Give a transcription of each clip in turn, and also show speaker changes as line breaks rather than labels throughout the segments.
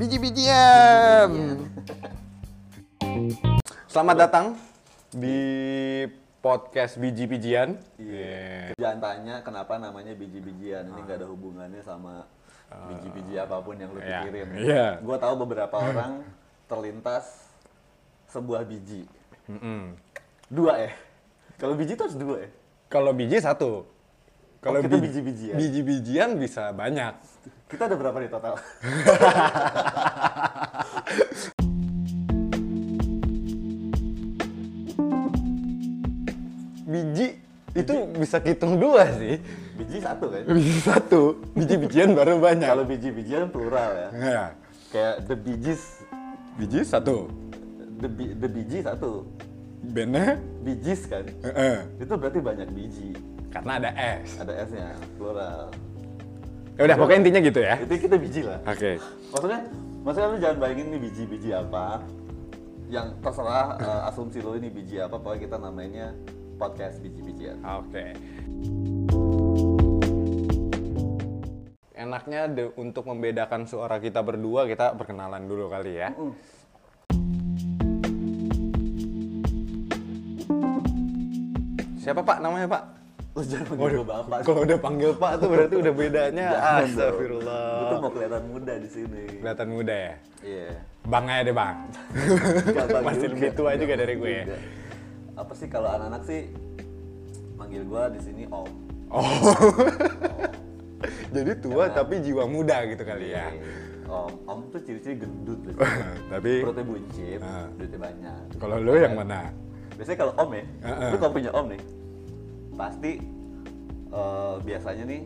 Biji-bijian. Selamat datang di podcast biji-bijian. Yeah.
Jangan tanya kenapa namanya biji-bijian. Ini nggak ada hubungannya sama biji-biji apapun yang lu
ya,
pikirin.
iya.
Gue tahu beberapa orang terlintas sebuah biji. Dua ya. Kalau biji itu harus dua ya.
Kalau biji satu. Kalau
kita
bij-
biji-bijian.
Biji-bijian bisa banyak.
Kita ada berapa nih total?
Biji itu bisa hitung dua sih.
Biji satu kan.
Biji satu, biji-bijian baru banyak.
Kalau biji-bijian plural ya.
Ya,
Kayak the bijis,
biji satu,
the, bi- the biji satu.
bene,
Bijis kan.
heeh.
Itu berarti banyak biji.
karena ada S.
Ada S-nya, plural.
Ya udah, pokoknya intinya gitu ya.
Itu kita biji lah.
Oke.
maksudnya maksudnya lu jangan bayangin nih biji-biji apa yang terserah eh, asumsi lu ini biji apa pokoknya kita namainnya podcast biji-bijian
Oke. Enaknya de- untuk membedakan suara kita berdua, kita perkenalan dulu kali ya. Siapa Pak namanya Pak?
lu jangan panggil gua bapak
Kalau udah panggil Pak tuh berarti udah bedanya.
Jangan dong. lu tuh
Astagfirullah.
mau kelihatan muda di sini
Kelihatan muda ya.
iya
Bang aja deh Bang.
Nggak bang
Masih
juga.
lebih tua juga dari gue ya.
Juga. apa sih kalau anak-anak sih manggil gua di sini om
Jadi tua tapi jiwa muda gitu kali ya.
om om tuh ciri-ciri gendut loh
tapi
perutnya buncit
Ah.
duitnya banyak
kalau lu yang mana?
biasanya kalau om ya,
Heeh.
lu kalau punya om nih, pasti eh, biasanya nih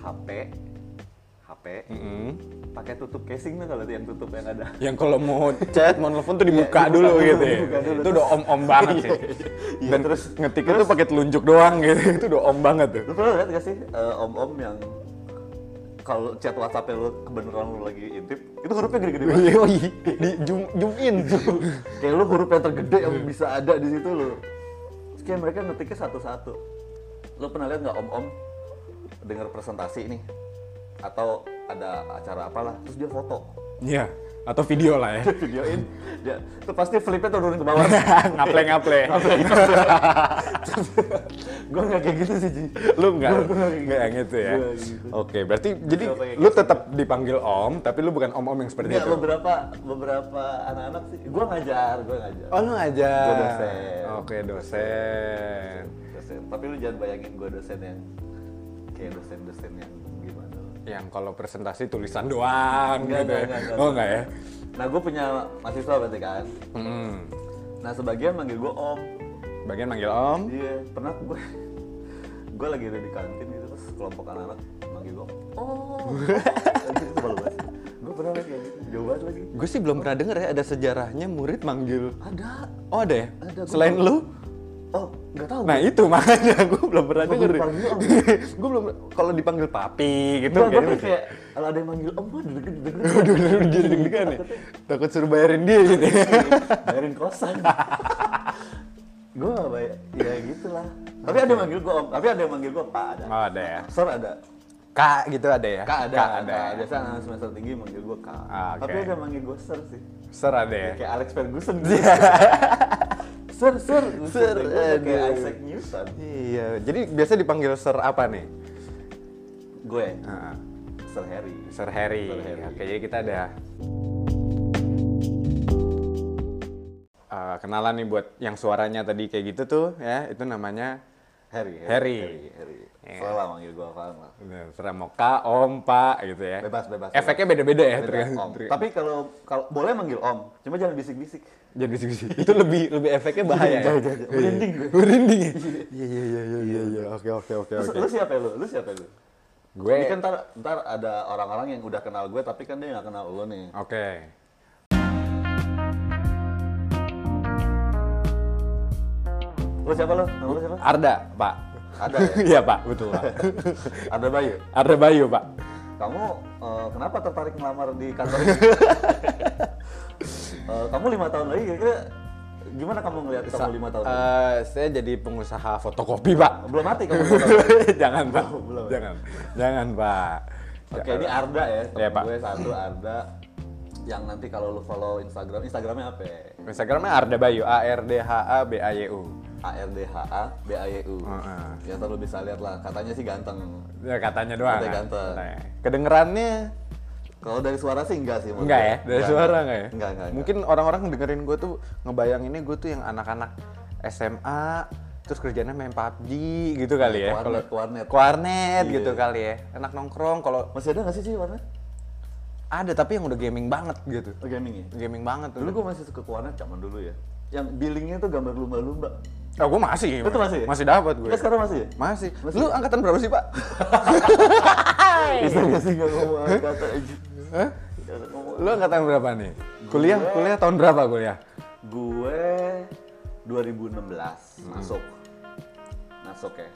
HP, HP
Mm.
pakai tutup casing tuh kalau yang tutup yang ada.
Yang kalau mau chat, mau telepon tuh dibuka
Iya, dibuka
dulu
dulu,
gitu. ya.
dibuka dulu.
Itu udah om-om banget sih.
Iya,
Dan terus
terus-
ngetiknya tuh pakai telunjuk doang gitu. Itu udah om banget tuh.
Lu pernah lihat gak sih eh, om-om yang kalau chat WhatsApp lu kebeneran lu lagi intip, itu hurufnya gede-gede banget.
Yoi, di zoom, zoom in.
Iya. kayak lu huruf yang tergede yang
Hmm.
bisa ada di situ lu. Terus kayak mereka ngetiknya satu-satu. Lu pernah lihat nggak om-om denger presentasi nih atau ada acara apalah terus dia foto
Iya, atau video lah ya.
videoin dia itu pasti flipnya turun ke bawah
Ngaple-ngaple.
gue nggak kayak gitu sih Ji
Lu enggak
Gua- gua kayak
enggak yang itu ya.
Gua gitu.
Oke, berarti jadi
Gua pakai
lu tetap dipanggil om, tapi lu bukan om-om yang seperti
nggak
itu.
beberapa beberapa anak-anak sih gue ngajar gue ngajar
Oh, lu aja.
Gua dosen.
Oke, dosen.
dosen tapi lu jangan bayangin gue dosen yang kayak dosen-dosen yang gimana
Yang kalau presentasi tulisan doang
Enggak,
gitu. ya.
enggak, enggak,
oh,
enggak.
enggak ya?
nah gue punya mahasiswa berarti kan
Hmm.
nah sebagian manggil gue om
Bagian manggil om.
dia pernah gue gue lagi ada di kantin gitu terus kelompok anak-anak manggil gue oh Anjir, itu malu banget gue pernah lihat kayak gitu jauh banget lagi
Gue sih belum pernah denger ya ada sejarahnya murid manggil.
ada
Oh ada ya?
Ada, gua
Selain
tahu.
lu?
oh nggak tahu
Nah itu makanya gue belum pernah
Gua
denger.
dipanggil om.
gue belum kalau dipanggil papi gitu
gue gue
kayaknya.
tuh kayak kalau ada yang manggil om gue deg deg
Aduh, aduh, aduh, dia deg-degan ya. Takut suruh bayarin dia gitu. ya.
bayarin kosan gue gak bayar ya gitulah tapi ada yang manggil gue om tapi ada yang manggil gue pak ada
Oh ada ya.
sir ada
Kak gitu ada ya.
kak ada
Kak
ada
ada. ya?
biasa anak semester tinggi manggil gue kak
Ah, oke.
tapi ada yang manggil gue sir sih
Ser ada ya.
kayak Alex Ferguson gitu. sir sir
Iya. Sir,
Gua udah kayak
aduh.
Isaac Newton
Iya. Jadi biasa dipanggil ser apa nih?
gue
Heeh.
sir Harry
Sir Harry.
Sir Harry.
Oke, jadi kita ada Eh, kenalan nih buat yang suaranya tadi kayak gitu tuh ya itu namanya
Harry
Harry. Iya.
Harry, Harry. Salah lah manggil gue apaan lah
Nah, Terserah mau kak, om, pak gitu ya.
Bebas, bebas,
Efeknya beda-beda ya.
Beda,
tergantung-
om.
tergantung.
Tapi kalau kalau boleh manggil om, cuma jangan bisik-bisik.
Jangan bisik-bisik. Itu lebih lebih efeknya bahaya.
Jangan, jangan, jangan. Merinding
gue. Iya, Merinding. ya? Iya iya iya iya iya iya. Oke oke oke
Terus
oke. Eh.
lu siapa ya lu? Lu siapa ya lu?
Gue
Ini kan ntar, ntar ada orang-orang yang udah kenal gue tapi kan dia nggak kenal lu nih.
Oke.
Lu siapa lu? Nama lu siapa?
Arda, Pak.
Ada ya?
Iya, Pak, betul, Pak.
Ada Bayu.
Arda Bayu, Pak.
Kamu eh, kenapa tertarik ngelamar di kantor ini? Eh, kamu lima tahun lagi kira-kira Gimana kamu ngelihat kamu lima tahun? lagi?
Eh, saya jadi pengusaha fotokopi, Pak.
Belum mati kamu.
jangan, Pak. Jangan. Jangan, Pak.
Oke, ini Arda ya, temen
Iya, Pak.
gue satu Arda yang nanti kalau lu follow Instagram, Instagramnya apa ya?
Instagramnya Arda Bayu, A R D H A B A Y U.
A R D H A B A Y U.
Heeh.
Ya ntar lu bisa lihat lah, katanya sih ganteng.
Ya katanya doang.
Katanya
kan?
ganteng.
Katanya. Kedengerannya
Kalau dari suara sih enggak sih. menurut
enggak
gue.
ya? Dari suara enggak ya?
Enggak, enggak.
Mungkin orang-orang dengerin gue tuh ngebayanginnya gue tuh yang anak-anak SMA terus kerjanya main PUBG gitu kali ya.
Warnet, warnet.
Ke warnet
Iya.
gitu kali ya. Enak nongkrong kalau
Masih ada nggak sih sih warnet?
ada tapi yang udah gaming banget gitu.
Oh, Gaming ya?
Gaming banget
Dulu gue masih suka ke warnet zaman dulu ya. Yang billingnya tuh gambar lumba-lumba.
Nah, gue masih.
Itu masih?
Masih dapat gue.
Gue sekarang masih ya?
Masih.
Masih.
Lu angkatan berapa sih, Pak?
Bisa nggak sih nggak ngomong ada kata aja?
Hah?
Nggak ngomong.
Lu angkatan berapa nih? Kuliah, kuliah tahun berapa kuliah?
Gue 2016 masuk. Masuk ya.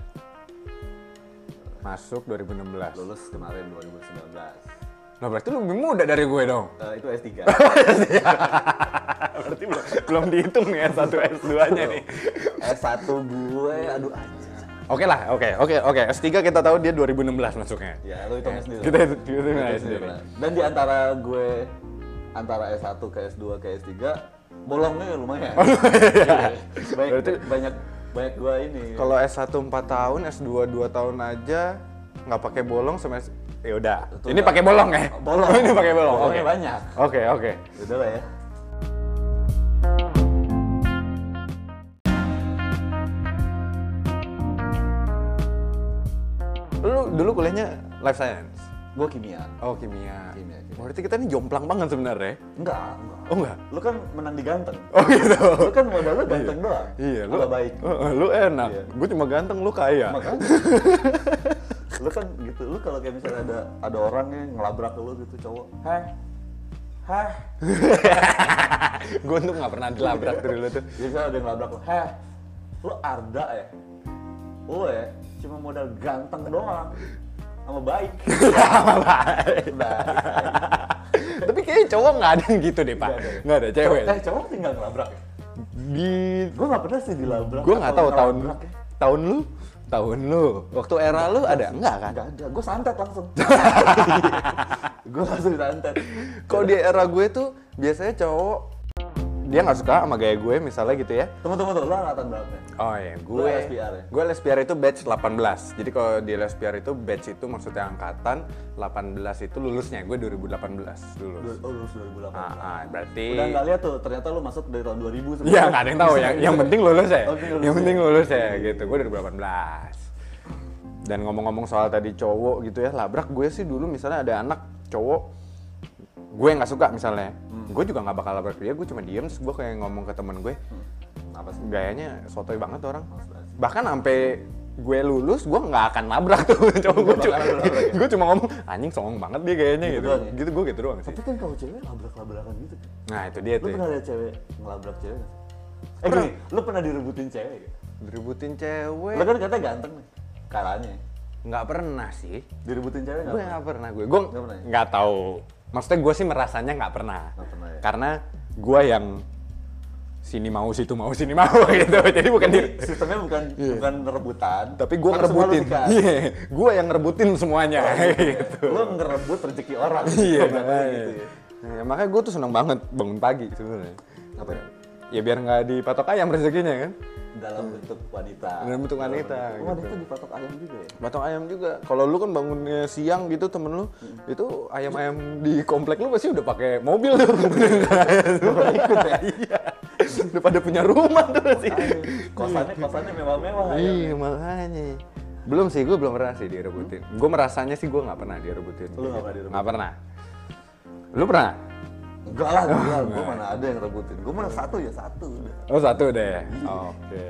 Masuk 2016.
Lulus kemarin 2019.
Nah, berarti lu lebih muda dari gue dong.
Eh, itu S3.
berarti belum, belum dihitung ya satu S2-nya nih.
S1 gue, aduh anjir.
Oke lah, oke, oke, oke. S3 kita tahu dia 2016 masuknya.
Ya, lu hitungnya sendiri.
Kita itu kita
Lu
hitung
hitungnya
sendiri.
lah. Dan di antara gue antara S1 ke S2 ke S3 bolongnya ya lumayan. banyak,
Berarti-
banyak banyak gue ini.
Kalau S1 4 tahun, S2 2 tahun aja nggak pakai bolong sama S... Ya udah.
Itu
Ini
udah.
pakai bolong ya?
Bolong.
Ini pakai bolong. Oke.
Bolongnya banyak.
Oke, oke.
Udah lah ya.
Lu dulu kuliahnya life science.
Gue kimia.
Oh, kimia.
Kimia, kimia.
Berarti kita ini jomplang banget sebenarnya.
Enggak, enggak.
Oh, enggak?
Lu kan menang di ganteng.
Oh gitu.
Lu kan modal lu ganteng doang.
Iya,
lu gak baik.
Eh, eh, Lu enak.
Iya.
Gue cuma ganteng, lu kaya.
Makanya. lu kan gitu, lu kalau kayak misalnya ada ada orang yang ngelabrak lu gitu cowok. Hah? Hah?
gue tuh nggak pernah dilabrak dari lu tuh.
Jadi misalnya ada yang ngelabrak lu, heh, lu Arda ya? Lu ya, cuma modal ganteng doang sama baik. Nah,
Tapi kayaknya cowok nggak ada yang gitu deh pak.
Nggak ada.
Nggak ada cewek.
eh cowok tinggal ngelabrak ya?
Di
Gue gak pernah sih dilabrak.
gue nggak
atau
tahu tahun
ngelabrak ya.
tahun lu tahun lu waktu era lu ada nggak kan?
Gak ada, gue santet langsung. gue langsung santet.
Kok di era gue tuh biasanya cowok dia nggak suka sama gaya gue misalnya gitu ya.
Temen temen tuh, lo angkatan berapa? ya?
Oh iya,
Lu
gue
LSPR ya?
Gue LSPR itu batch 18. Jadi kalau di LSPR itu batch itu maksudnya angkatan 18 itu lulusnya. Gue 2018 lulus.
Dua- Oh, lulus 2008.
Ah, ah, berarti
Udah nggak lihat tuh, ternyata lu masuk dari tahun 2000 sebenarnya.
Iya, nggak ada yang tahu ya. Yang penting lulus ya.
Oke,
yang
lulus ya.
penting lulus ya gitu. Gue 2018. Dan ngomong-ngomong soal tadi cowok gitu ya, labrak gue sih dulu misalnya ada anak cowok gue nggak suka misalnya,
Hmm.
gue juga nggak bakal labrak dia, gue cuma diem terus gue kayak ngomong ke temen gue,
Apa sih?
gayanya sotoy banget tuh orang.
Males banget.
Bahkan sampai gue lulus, gue nggak akan labrak tuh cowok gue
Nggak
cuma,
bakal labrak ya?
gue cuma ngomong anjing songong banget dia kayaknya
Gitu
gitu,
doang ya?
gitu gue gitu doang sih.
Tapi kan kalau cewek labrak-labrakan gitu. kan?
Nah itu dia
Lu
tuh. ya.
pernah lihat cewek ngelabrak cewek nggak? Eh gini, lu pernah direbutin cewek gak?
Direbutin
Lu
cewek
kan katanya ganteng nih, karanya.
nggak pernah sih.
Direbutin cewek
gue
gak?
nggak pernah gue gue
Nggak pernah ya?
nggak tahu maksudnya gue sih merasanya nggak pernah
Nggak pernah ya?
karena gue yang sini mau situ mau sini mau gitu jadi bukan
Jadi
diri
sistemnya bukan bukan rebutan.
Iya. tapi gue
kan semua lu
ngerebutin
sikat.
iya gue yang ngerebutin semuanya
Oh, iya,
gitu
Lu ngerebut rezeki orang.
iya
Makanya
makanya
gitu ya.
Iya, makanya gue tuh seneng banget bangun pagi sebenarnya
Apa ya?
ya biar nggak dipatok ayam rezekinya kan
Dalam bentuk wanita.
Dalam bentuk wanita, gitu.
Oh, wanita dipatok ayam juga ya?
Batang ayam juga. Kalau lu kan bangunnya siang gitu temen lu, itu ayam-ayam di komplek lu pasti udah pakai mobil tuh. Udah ikut ya? Iya. Udah pada punya rumah tuh pasti.
Aduh, kosannya kosannya mewah-mewah ya.
Iya makanya. Belum sih, gue belum pernah sih direbutin. Gue merasanya sih gue nggak pernah direbutin.
Lu nggak pernah direbutin?
Nggak pernah. Lu pernah?
Enggak lah, gila. Gue mana ada yang rebutin. Gue mana satu ya satu. udah.
Oh satu deh. Oke.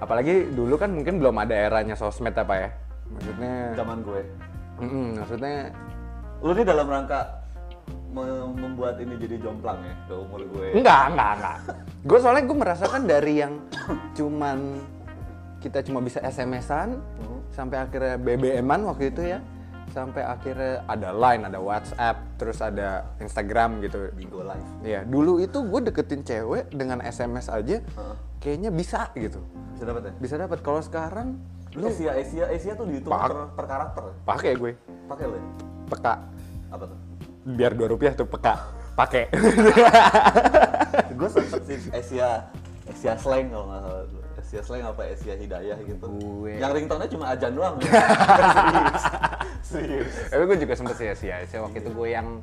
Apalagi dulu kan mungkin belum ada eranya sosmed apa ya? Maksudnya,
Zaman gue.
Mm-mm, maksudnya
Lu nih dalam rangka me- membuat ini jadi jomplang ya ke umur gue.
Enggak, enggak, enggak. Gue soalnya gue merasakan dari yang cuman kita cuma bisa SMS-an sampai akhirnya BBM-an waktu itu ya. sampai akhirnya ada line ada WhatsApp terus ada Instagram gitu
Bigo Live.
Iya, dulu itu gue deketin cewek dengan SMS aja, kayaknya bisa gitu,
Bisa dapat ya?
bisa dapat. Kalau sekarang
Lu Asia Asia Asia tuh dihitung
Pak.
per, per karakter. ya?
pakai gue,
Pakai lu. ya?
peka,
Apa tuh?
biar dua rupiah tuh peka, pakai.
gue sempet sih Asia Asia slang kalau nggak salah dulu. Asia slang apa Asia hidayah gitu
Gue.
yang ringtone-nya cuma ajan doang ya. serius serius
Tapi gue juga sempet sih ya, waktu itu gue yang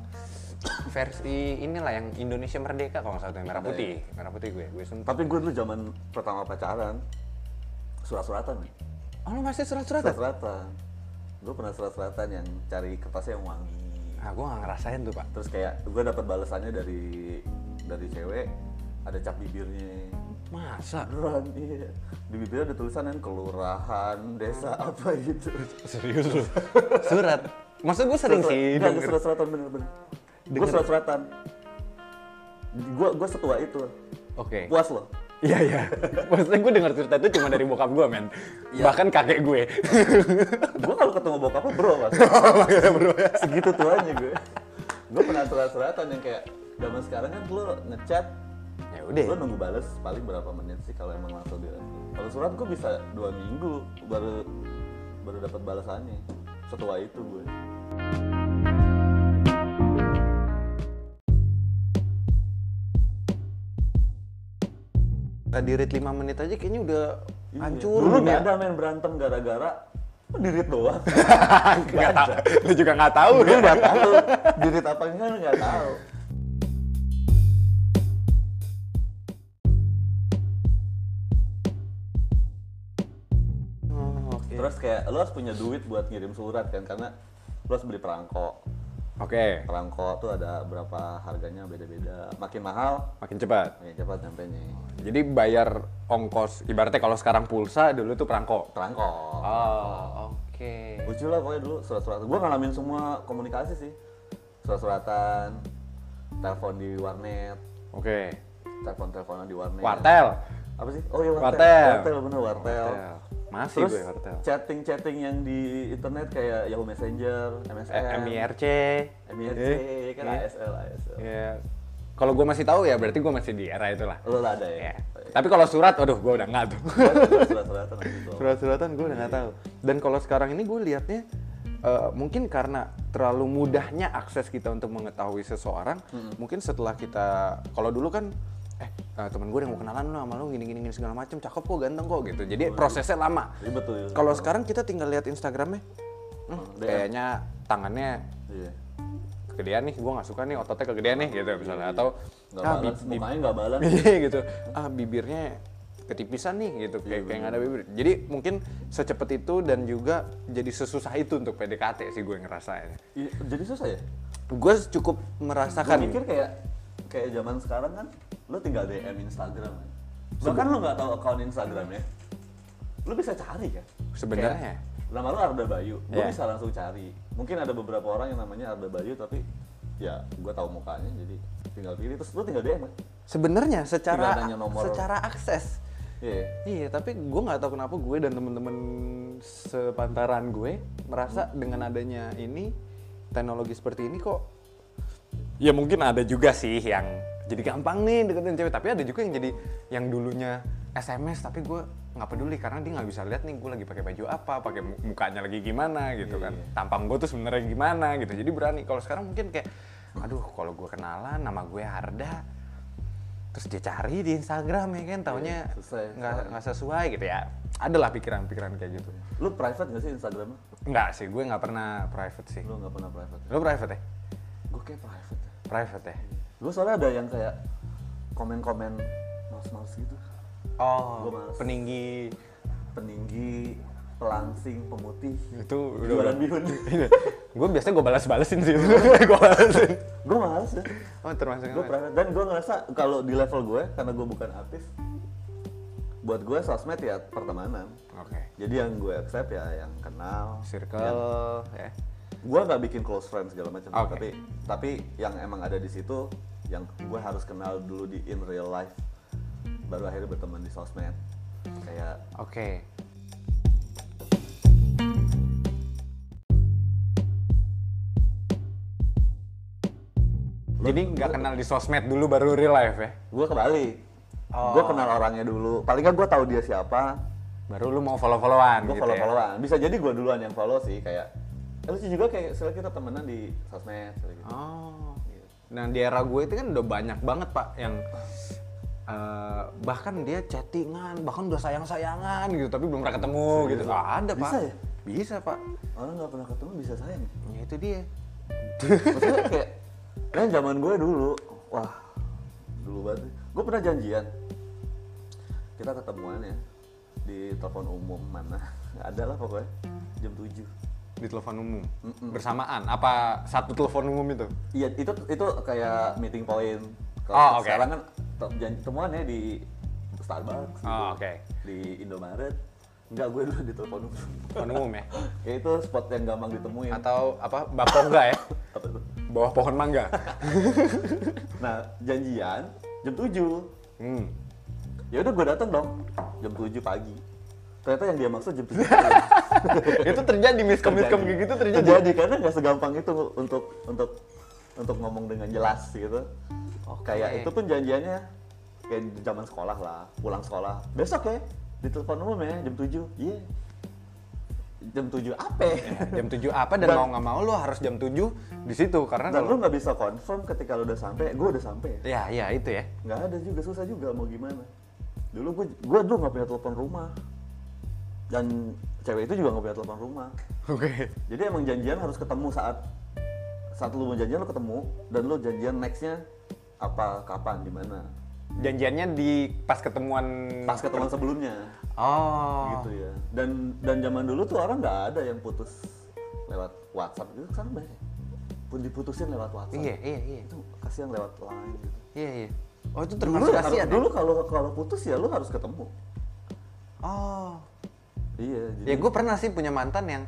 versi inilah yang Indonesia Merdeka kalau nggak salah tuh, yang merah putih, merah putih gue, gue sempet.
tapi gue dulu zaman pertama pacaran surat-suratan nih
Oh lu masih surat-suratan?
surat-suratan gue pernah surat-suratan yang cari kertasnya yang wangi
Ah gue nggak ngerasain tuh pak.
terus kayak gue dapat balasannya dari dari cewek ada cap bibirnya
Masa?
beneran iya di bibirnya ada tulisan kan kelurahan desa
Hmm.
apa gitu
Serius lu? Surat? Maksud gue sering sih
Enggak, ada
denger.
surat-suratan bener-bener. Gue surat-suratan. Gue gue setua itu.
Oke.
Puas loh.
Iya iya. Maksudnya gue dengar cerita itu cuma dari bokap gue men. Bahkan kakek gue.
Gue kalau ketemu bokapnya bro mas. Segitu tuanya gue. Gue pernah surat-suratan yang kayak zaman sekarang kan lo ngechat
ya
lo
udah.
nunggu bales paling berapa menit sih kalau emang langsung di kalau surat gue bisa dua minggu baru baru dapat balasannya setua itu gue
Tadi rate 5 menit aja kayaknya udah hancur.
Iya. dulu
dunia.
nggak ada main berantem gara-gara dirit doang
Nggak tahu. Lu juga nggak tahu
gue
ya.
nggak tahu dirit apa enggak nggak tahu
Iya.
Terus kayak lo harus punya duit buat ngirim surat kan karena lo harus beli perangko.
Oke.
Perangko tuh ada berapa harganya beda-beda. Makin mahal, ya
Makin cepat.
makin cepat nyampenya.
Jadi bayar ongkos ibaratnya kalau sekarang pulsa dulu tuh perangko.
Perangko.
Oh, oke.
Lucu lah pokoknya dulu surat-suratan. Gue ngalamin semua komunikasi sih. Surat-suratan, telepon di warnet,
Oke.
telepon-teleponan di warnet.
Wartel.
Apa sih? Oh iya wartel.
Wartel.
bener wartel.
Masih
Terus
gue Iya, wartel.
chatting-chatting yang di internet kayak Yahoo Messenger, MSN,
Eh, MIRC.
MIRC,
Eh,
kan
eh.
ASL, ASL.
Ya. Kalau gue masih tahu ya berarti gue masih di era itulah.
Lo lah ada ya?
Ya. Tapi kalau surat, waduh, gue udah nggak tuh.
Surat-suratan gitu.
Surat-suratan gue udah nggak tahu. Dan kalau sekarang ini gue liatnya eh, mungkin karena terlalu mudahnya akses kita untuk mengetahui seseorang, mungkin setelah kita, kalau dulu kan, eh eh, temen gue yang mau kenalan lu sama lu gini-gini gini segala macem, cakep kok, ganteng kok gitu. Jadi prosesnya lama.
Ribet tuh. ya.
Kalau sekarang kita tinggal lihat Instagramnya, hmm,
DM.
kayaknya tangannya
Iya.
kegedean nih, gue nggak suka nih ototnya kegedean nih gitu misalnya atau
Nggak
ah,
balance,
bi- bi-
mukanya nggak balance.
Iya gitu. Ah bibirnya ketipisan nih gitu kayak kayak nggak ada bibir. Jadi mungkin secepat itu dan juga jadi sesusah itu untuk PDKT sih gue ngerasain.
Iya, Jadi susah ya?
Gue cukup
Gue
merasakan
mikir kayak kayak zaman sekarang kan lo tinggal DM Instagram. kan. Bahkan lo nggak tahu akun Instagramnya, lo bisa cari kan?
Sebenarnya.
Kayak, Nama lo Arda Bayu, gue
Iya.
bisa langsung cari. Mungkin ada beberapa orang yang namanya Arda Bayu tapi ya gue tahu mukanya jadi tinggal pilih terus lo tinggal DM kan?
sebenarnya
Tinggal
secara
nanya nomor.
secara akses.
Iya. ya?
Iya, tapi gue nggak tahu kenapa gue dan temen-temen sepantaran gue merasa dengan adanya ini teknologi seperti ini kok ya mungkin ada juga sih yang jadi gampang nih deketin cewek tapi ada juga yang jadi yang dulunya SMS tapi gue nggak peduli karena dia nggak bisa lihat nih gue lagi pakai baju apa pakai mu- mukanya lagi gimana gitu kan tampang gue tuh sebenarnya gimana gitu jadi berani kalau sekarang mungkin kayak aduh kalau gue kenalan nama gue Harda terus dia cari di Instagram ya kan taunya
susah ya,
nggak
sekarang.
nggak sesuai gitu ya adalah pikiran-pikiran kayak gitu
Lo private nggak sih Instagramnya?
nggak sih gue nggak pernah private sih
Lo nggak pernah private.
lo private ya
Gue kayak private. ya.
private ya
Gue soalnya ada yang kayak komen-komen males-males gitu.
oh
Gue males.
peninggi
Peninggi, pelangsing, pemutih,
itu
jualan bihun.
gue biasanya gue balas-balesin sih gue balesin
gue males ya.
oh termasuk yang
Gue
lain.
private. Dan gue ngerasa kalau di level gue, karena gue bukan artis, buat gue sosmed ya pertemanan.
oke
Jadi yang gue accept ya yang kenal.
circle ya
Gue nggak bikin close friends segala macam.
Oke.
Tapi tapi yang emang ada di situ, yang gue harus kenal dulu di in real life, baru akhirnya berteman di sosmed. Kayak
oke Jadi nggak kenal di sosmed dulu baru real life ya?
Gue kebalik. Gue kenal orangnya dulu. Paling kan gue tahu dia siapa.
Baru lu mau follow-followan
Gue
gitu
follow
ya?
followan. Bisa jadi gue duluan yang follow sih kayak. eh, Lucu juga kayak setelah kita temenan di sosmed. setelah gitu.
Oh. Nah di era gue itu kan udah banyak banget pak yang eh, bahkan dia chattingan, bahkan udah sayang-sayangan gitu, tapi belum pernah ketemu gitu. Nggak ada pak.
Bisa ya?
Bisa pak.
Orang "Oh, nggak pernah ketemu bisa sayang.
Ya itu dia.
Maksudnya kayak kan zaman gue dulu, wah dulu banget. Gue pernah janjian. Kita ketemuan ya di telepon umum mana? Ada lah pokoknya jam 7
Di telepon umum. Bersamaan. Apa satu telepon umum itu?
Iya itu itu kayak meeting point.
Oh, oke.
Sekarang kan te- janji temuannya di Starbucks, gitu.
Oh, oke.
di Indomaret. Enggak gue dulu di telepon umum.
Telepon umum ya?
kayak itu spot yang gampang ditemuin.
Atau apa? Bapongga ya?
Apa itu?
Bawah pohon mangga.
Nah janjian jam 7
Hmm.
ya udah gue datang dong jam 7 pagi ternyata yang dia maksud jam 7
itu terjadi miskom-miskom kayak gitu terjadi.
jadi karena nggak segampang itu untuk untuk untuk ngomong dengan jelas gitu kayak itu pun janjiannya kayak di zaman sekolah lah pulang sekolah besok ya di telepon umum ya jam 7 iya jam 7 apa
Jam 7 apa dan
Dan-
mau nggak mau lu harus jam 7 di situ karena
dan
kalau
lu nggak bisa confirm ketika lu udah sampai gue udah sampai
Ya, ya itu ya.
nggak ada juga susah juga mau gimana dulu gue gue dulu nggak punya telepon rumah dan cewek itu juga nggak punya telepon rumah
Oke.
Jadi emang janjian harus ketemu saat saat lu mau janjian lu ketemu dan lu janjian nextnya apa kapan di mana
Janjiannya di pas ketemuan
pas ketemuan sebelumnya
Oh.
gitu ya dan dan zaman dulu tuh orang nggak ada yang putus lewat WhatsApp gitu kan banyak ya? pun diputusin lewat WhatsApp
Iya, iya, iya.
itu kasihan lewat line gitu
Iya, iya. Oh, itu
dulu
termasuk
ya, kalau-
kasihan. ya?
dulu kalau kalau putus ya lu harus ketemu
Oh.
iya
Ya gue pernah sih punya mantan yang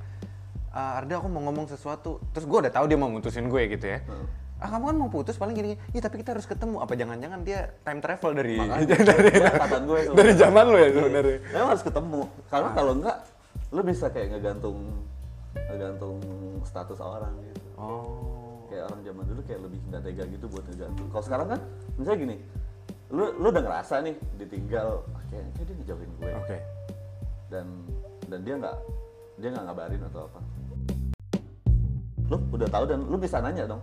"Ah, Arda aku mau ngomong sesuatu, terus gue udah tahu dia mau mutusin gue gitu ya.
Heeh.
Ah kamu kan mau putus paling gini, iya tapi kita harus ketemu. Apa jangan-jangan dia time travel dari
Makanya,
dari,
itu angkatan gue tuh. Iya.
dari zaman lo ya Nah. sebenarnya.
Memang harus ketemu. Karena kalau enggak, lu bisa kayak ngegantung ngegantung status orang gitu.
Oh.
Kayak orang zaman dulu kayak lebih nggak tega gitu buat ngegantung. Kalau sekarang kan, misalnya gini, lu lu udah ngerasa nih ditinggal, ah, kayak, kayak dia ngejauhin gue
Oke.
dan dan dia nggak dia nggak ngabarin atau apa. Lu udah tahu dan lu bisa nanya dong.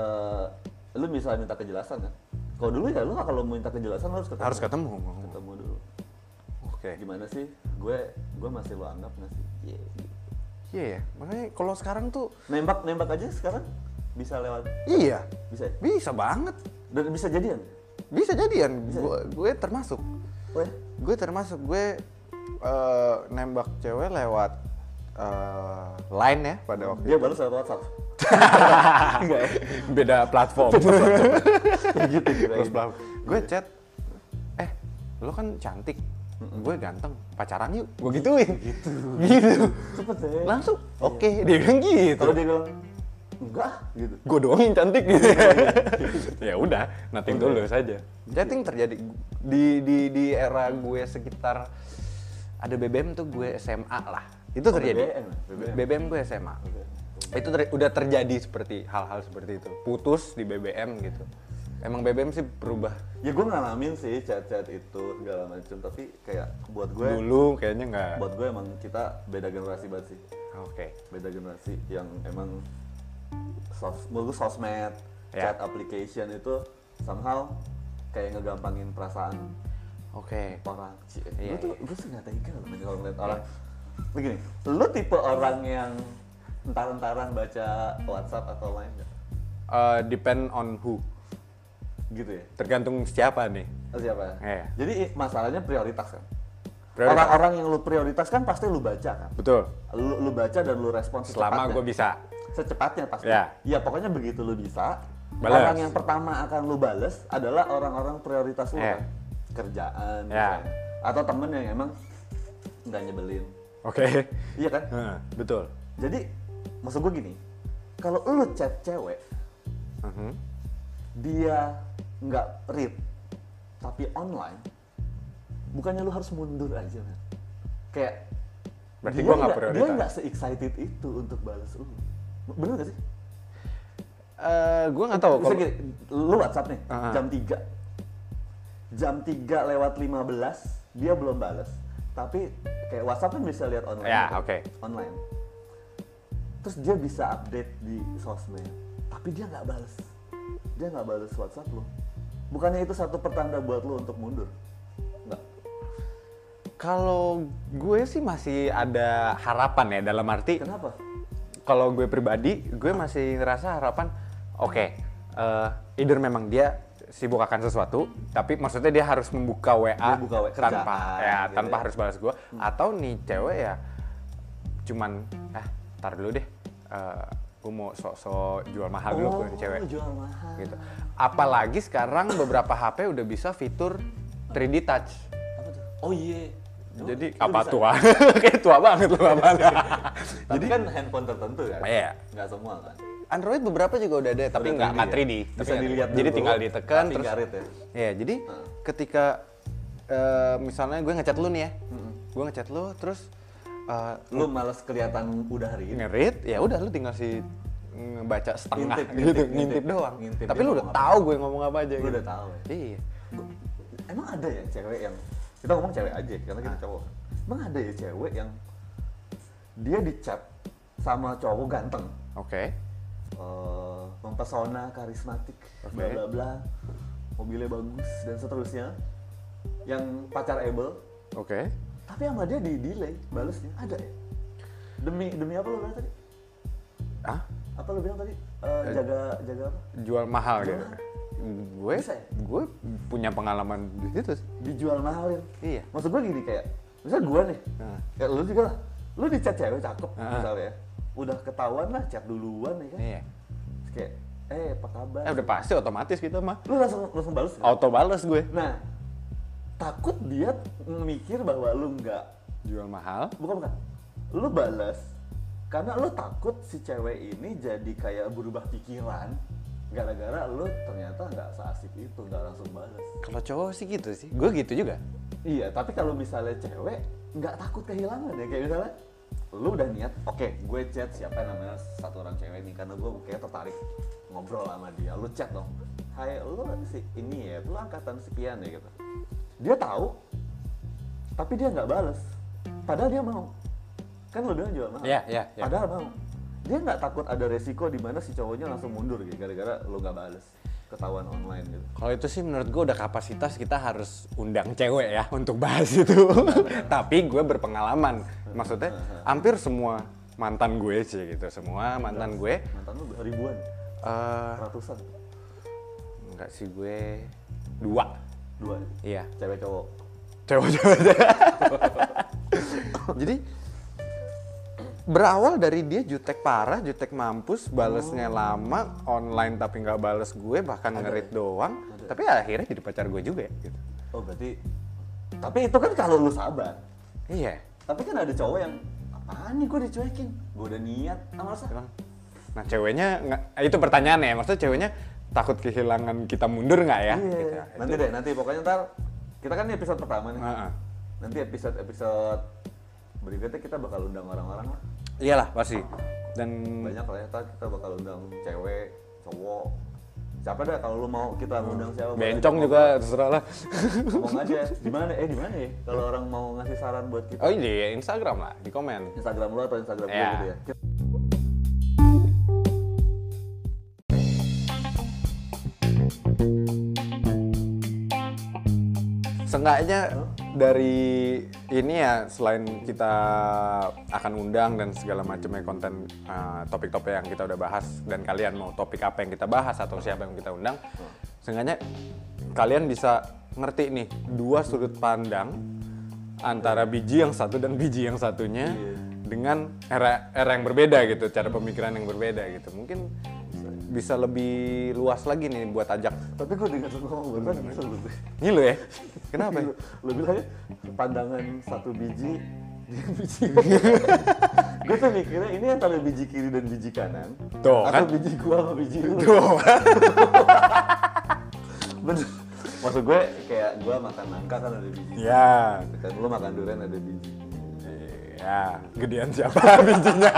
Eh, lu bisa minta kejelasan kan? Kalau dulu ya lu kalau mau minta kejelasan lu harus ketemu.
Harus ketemu.
ketemu dulu
Oke.
gimana sih gue gue masih lo anggap nggak sih Iya, gitu.
Iya ya. Makanya kalau sekarang tuh
nembak nembak aja sekarang bisa lewat
iya,
bisa ya?
bisa banget.
dan bisa jadian
Bisa jadian. Gue gue termasuk.
oh ya
Gue termasuk gue eh, nembak cewek lewat eh, line ya pada waktu
dia baru lewat WhatsApp enggak ya
beda platform.
Kayak gitu
Terus
kira
bla- Gue chat, eh lo kan cantik, gue ganteng, pacaran yuk. Gue gituin. Iya. Gitu.
cepet ya
Langsung, oke, dia bilang gitu.
kalau dia bilang enggak gitu
Gue doang yang cantik gitu. ya udah, nothing dulu saja. Chatting terjadi di di di era gue sekitar ada BBM tuh gue SMA lah. Itu terjadi.
BBM, BBM.
BBM gue SMA. Itu ter- udah terjadi seperti hal-hal seperti itu. Putus di BBM gitu. Emang BBM sih berubah
ya gue ngalamin sih chat-chat itu segala macem tapi kayak buat gue
dulu kayaknya nggak
buat gue emang kita beda generasi banget sih
oke
beda generasi yang emang sos menurut gue sosmed
Ya.
chat application itu somehow kayak ngegampangin perasaan
oke
orang sih
Iya,
gue tuh gue sih nggak tega loh men kalau ngeliat orang begini lu tipe orang yang entar-entaran baca WhatsApp atau lain nggak
Eh, depend on who
gitu ya
tergantung siapa nih
Atau siapa ya?
Iya.
jadi i- masalahnya prioritas kan
Prioritas.
orang-orang yang lu prioritas kan pasti lu baca kan
betul
lu, lu baca dan lu respon
selama
secepatnya.
gue bisa
secepatnya pasti.
Ya.
Ya pokoknya begitu lu bisa,
Balas.
orang yang pertama akan lu bales adalah orang-orang prioritas lu
Ya.
kan. Kerjaan
Ya.
misalnya. Atau temen yang emang nggak nyebelin.
oke
Iya kan?
Heeh, betul
Jadi maksud gue gini, kalau lu chat cewek,
Mhm.
dia nggak read tapi online, bukannya lu harus mundur aja kan? Kayak
Berarti
dia
gua nggak
nggak- Dia
prioritas.
nggak se-excited itu untuk balas lu. Bener gak sih?
Eh eh, gue nggak tahu
Bisa
kalau
gini, lu WhatsApp nih,
Ah.
jam 3. Jam 3 lewat 15, dia belum balas. Tapi kayak WhatsApp kan bisa lihat online.
Ya,
tuh,
oke.
Online. Terus dia bisa update di sosmed, tapi dia nggak balas. Dia nggak balas WhatsApp lu. Bukannya itu satu pertanda buat lu untuk mundur? Nggak.
kalau gue sih masih ada harapan ya dalam arti
Kenapa?
kalau gue pribadi gue masih ngerasa harapan oke eh, either memang dia sibuk akan sesuatu tapi maksudnya dia harus membuka WA,
Dia buka WA,
tanpa
kerjaan,
ya
gitu
tanpa
ya.
harus balas gue atau nih cewek ya cuman eh tar dulu deh eh, gue mau sok-sok jual mahal dulu ke cewek
Oh, jual mahal.
gitu apalagi sekarang beberapa HP udah bisa fitur 3D touch
Apa tuh? Oh iya. Emang
jadi
itu
apa
bisa?
tua? Kayak tua banget lu abang.
Tapi Jadi kan handphone tertentu kan?
Iya.
Nggak semua kan?
Android beberapa juga udah ada, tapi nggak
Udah 3D
nggak
ya?
3D. tapi
Bisa
nggak-
dilihat
Jadi
dulu,
tinggal ditekan
tapi
terus.
nggak read ya?
Iya, jadi ketika eh, misalnya gue ngechat lu nih ya,
Hmm.
gue ngechat lu terus eh,
Lu males kelihatan udah hari ini.
ngerit, ya udah lu tinggal si ngebaca setengah
Ngintip,
gitu,
ngintip,
ngintip,
ngintip.
doang.
Ngintip
tapi
dia
lu udah
ngomong apa.
tahu gue ngomong apa aja
Lu
gitu.
udah tahu ya?
Iya.
Emang ada ya cewek yang kita ngomong cewek aja karena kita cowok. kan? Emang ada ya cewek yang dia di chat sama cowok ganteng,
Oke.
Eh, mempesona, karismatik,
Oke.
bla bla bla, mobilnya bagus dan seterusnya. Yang pacar able,
Oke.
tapi sama dia di delay balasnya ada ya. Demi demi apa lo bilang tadi?
Ah,
Apa lo bilang tadi? Eh, jaga jaga apa?
jual mahal gitu. Gue
Bisa ya?
gue punya pengalaman di situ sih.
dijual mahalin.
Iya.
Maksud gue gini kayak, misalnya gue nih,
Nah.
kayak lu juga lah, lu di chat cewek cakep
Nah.
misalnya ya. Udah ketahuan lah chat duluan ya kan.
Iya.
Terus Kayak, eh apa kabar?
Eh udah pasti otomatis kita mah.
Lu langsung langsung balas nggak?
Auto balas gue.
Nah, takut dia mikir bahwa lu nggak,
Jual mahal.
bukan bukan, lu balas karena lu takut si cewek ini jadi kayak berubah pikiran gara-gara lu ternyata nggak seasik itu nggak langsung balas.
Kalau cowok sih gitu sih. Gue gitu juga.
Iya, tapi kalau misalnya cewek nggak takut kehilangan ya kayak misalnya lu udah niat, oke, gue chat siapa namanya satu orang cewek ini karena gue kayak tertarik ngobrol sama dia. Lu chat dong. Hai, lu si ini ya, lu angkatan sekian ya gitu. Dia tahu, tapi dia nggak balas. Padahal dia mau. Kan lu bilang jual mahal.
Iya, iya, iya.
Padahal mau. Dia nggak takut ada resiko di mana si cowoknya langsung mundur gitu gara-gara lu nggak balas ketahuan online gitu.
Kalau itu sih menurut gue udah kapasitas kita harus undang cewek ya untuk bahas itu. Tapi gue berpengalaman. Maksudnya hampir semua mantan gue sih gitu. Semua mantan gue.
Mantan lu ribuan,
eh
ratusan,
enggak sih gue dua.
dua.
Iya.
cewek cowok
Cewek-cewek. Jadi berawal dari dia jutek parah, jutek mampus, balesnya lama, online tapi nggak bales gue, bahkan ngerit doang. Tapi akhirnya jadi pacar gue juga ya, gitu.
oh berarti tapi itu kan kalau lu sabar
Iya.
tapi kan ada cowok yang apaan nih gue dicuekin gue udah niat ah masa
Emang. Nah ceweknya nggak- eh, itu pertanyaannya ya, maksudnya ceweknya takut kehilangan kita mundur nggak ya?
Iya.
Gitu.
nanti deh nanti pokoknya ntar kita kan ini episode pertama nih
Heeh.
nanti episode episode berikutnya kita bakal undang orang-orang lah
Iyalah pasti. Dan
banyak lah ya ntar kita bakal undang cewek cowok siapa dah kalau lu mau kita undang siapa boleh.
bencong juga terserah lah.
ngomong aja di mana eh di mana ya kalau orang mau ngasih saran buat kita
Oh iya, Instagram lah, di komen.
Instagram lu atau Instagram gue
Iya.
gitu ya
Seenggaknya dari ini ya selain kita akan undang dan segala macamnya konten eh, topik-topik yang kita udah bahas dan kalian mau topik apa yang kita bahas atau siapa yang kita undang, seenggaknya kalian bisa ngerti nih dua sudut pandang antara biji yang satu dan biji yang satunya dengan era era yang berbeda gitu, cara pemikiran yang berbeda gitu. Mungkin bisa lebih luas lagi nih buat ajak
tapi gue dengar lu ngomong barusan kesel gue.
ngilu ya. Kenapa? ya?
Lu, lu bilangnya pandangan satu biji dia biji gue tuh mikirnya ini antara biji kiri dan biji kanan
Tuh,
atau
kan?
biji gua sama biji lu
Tuh.
bener maksud gue kayak gua makan nangka kan ada biji
Ya,
kan lu makan durian ada biji
Iya, ya, gedean siapa bijinya?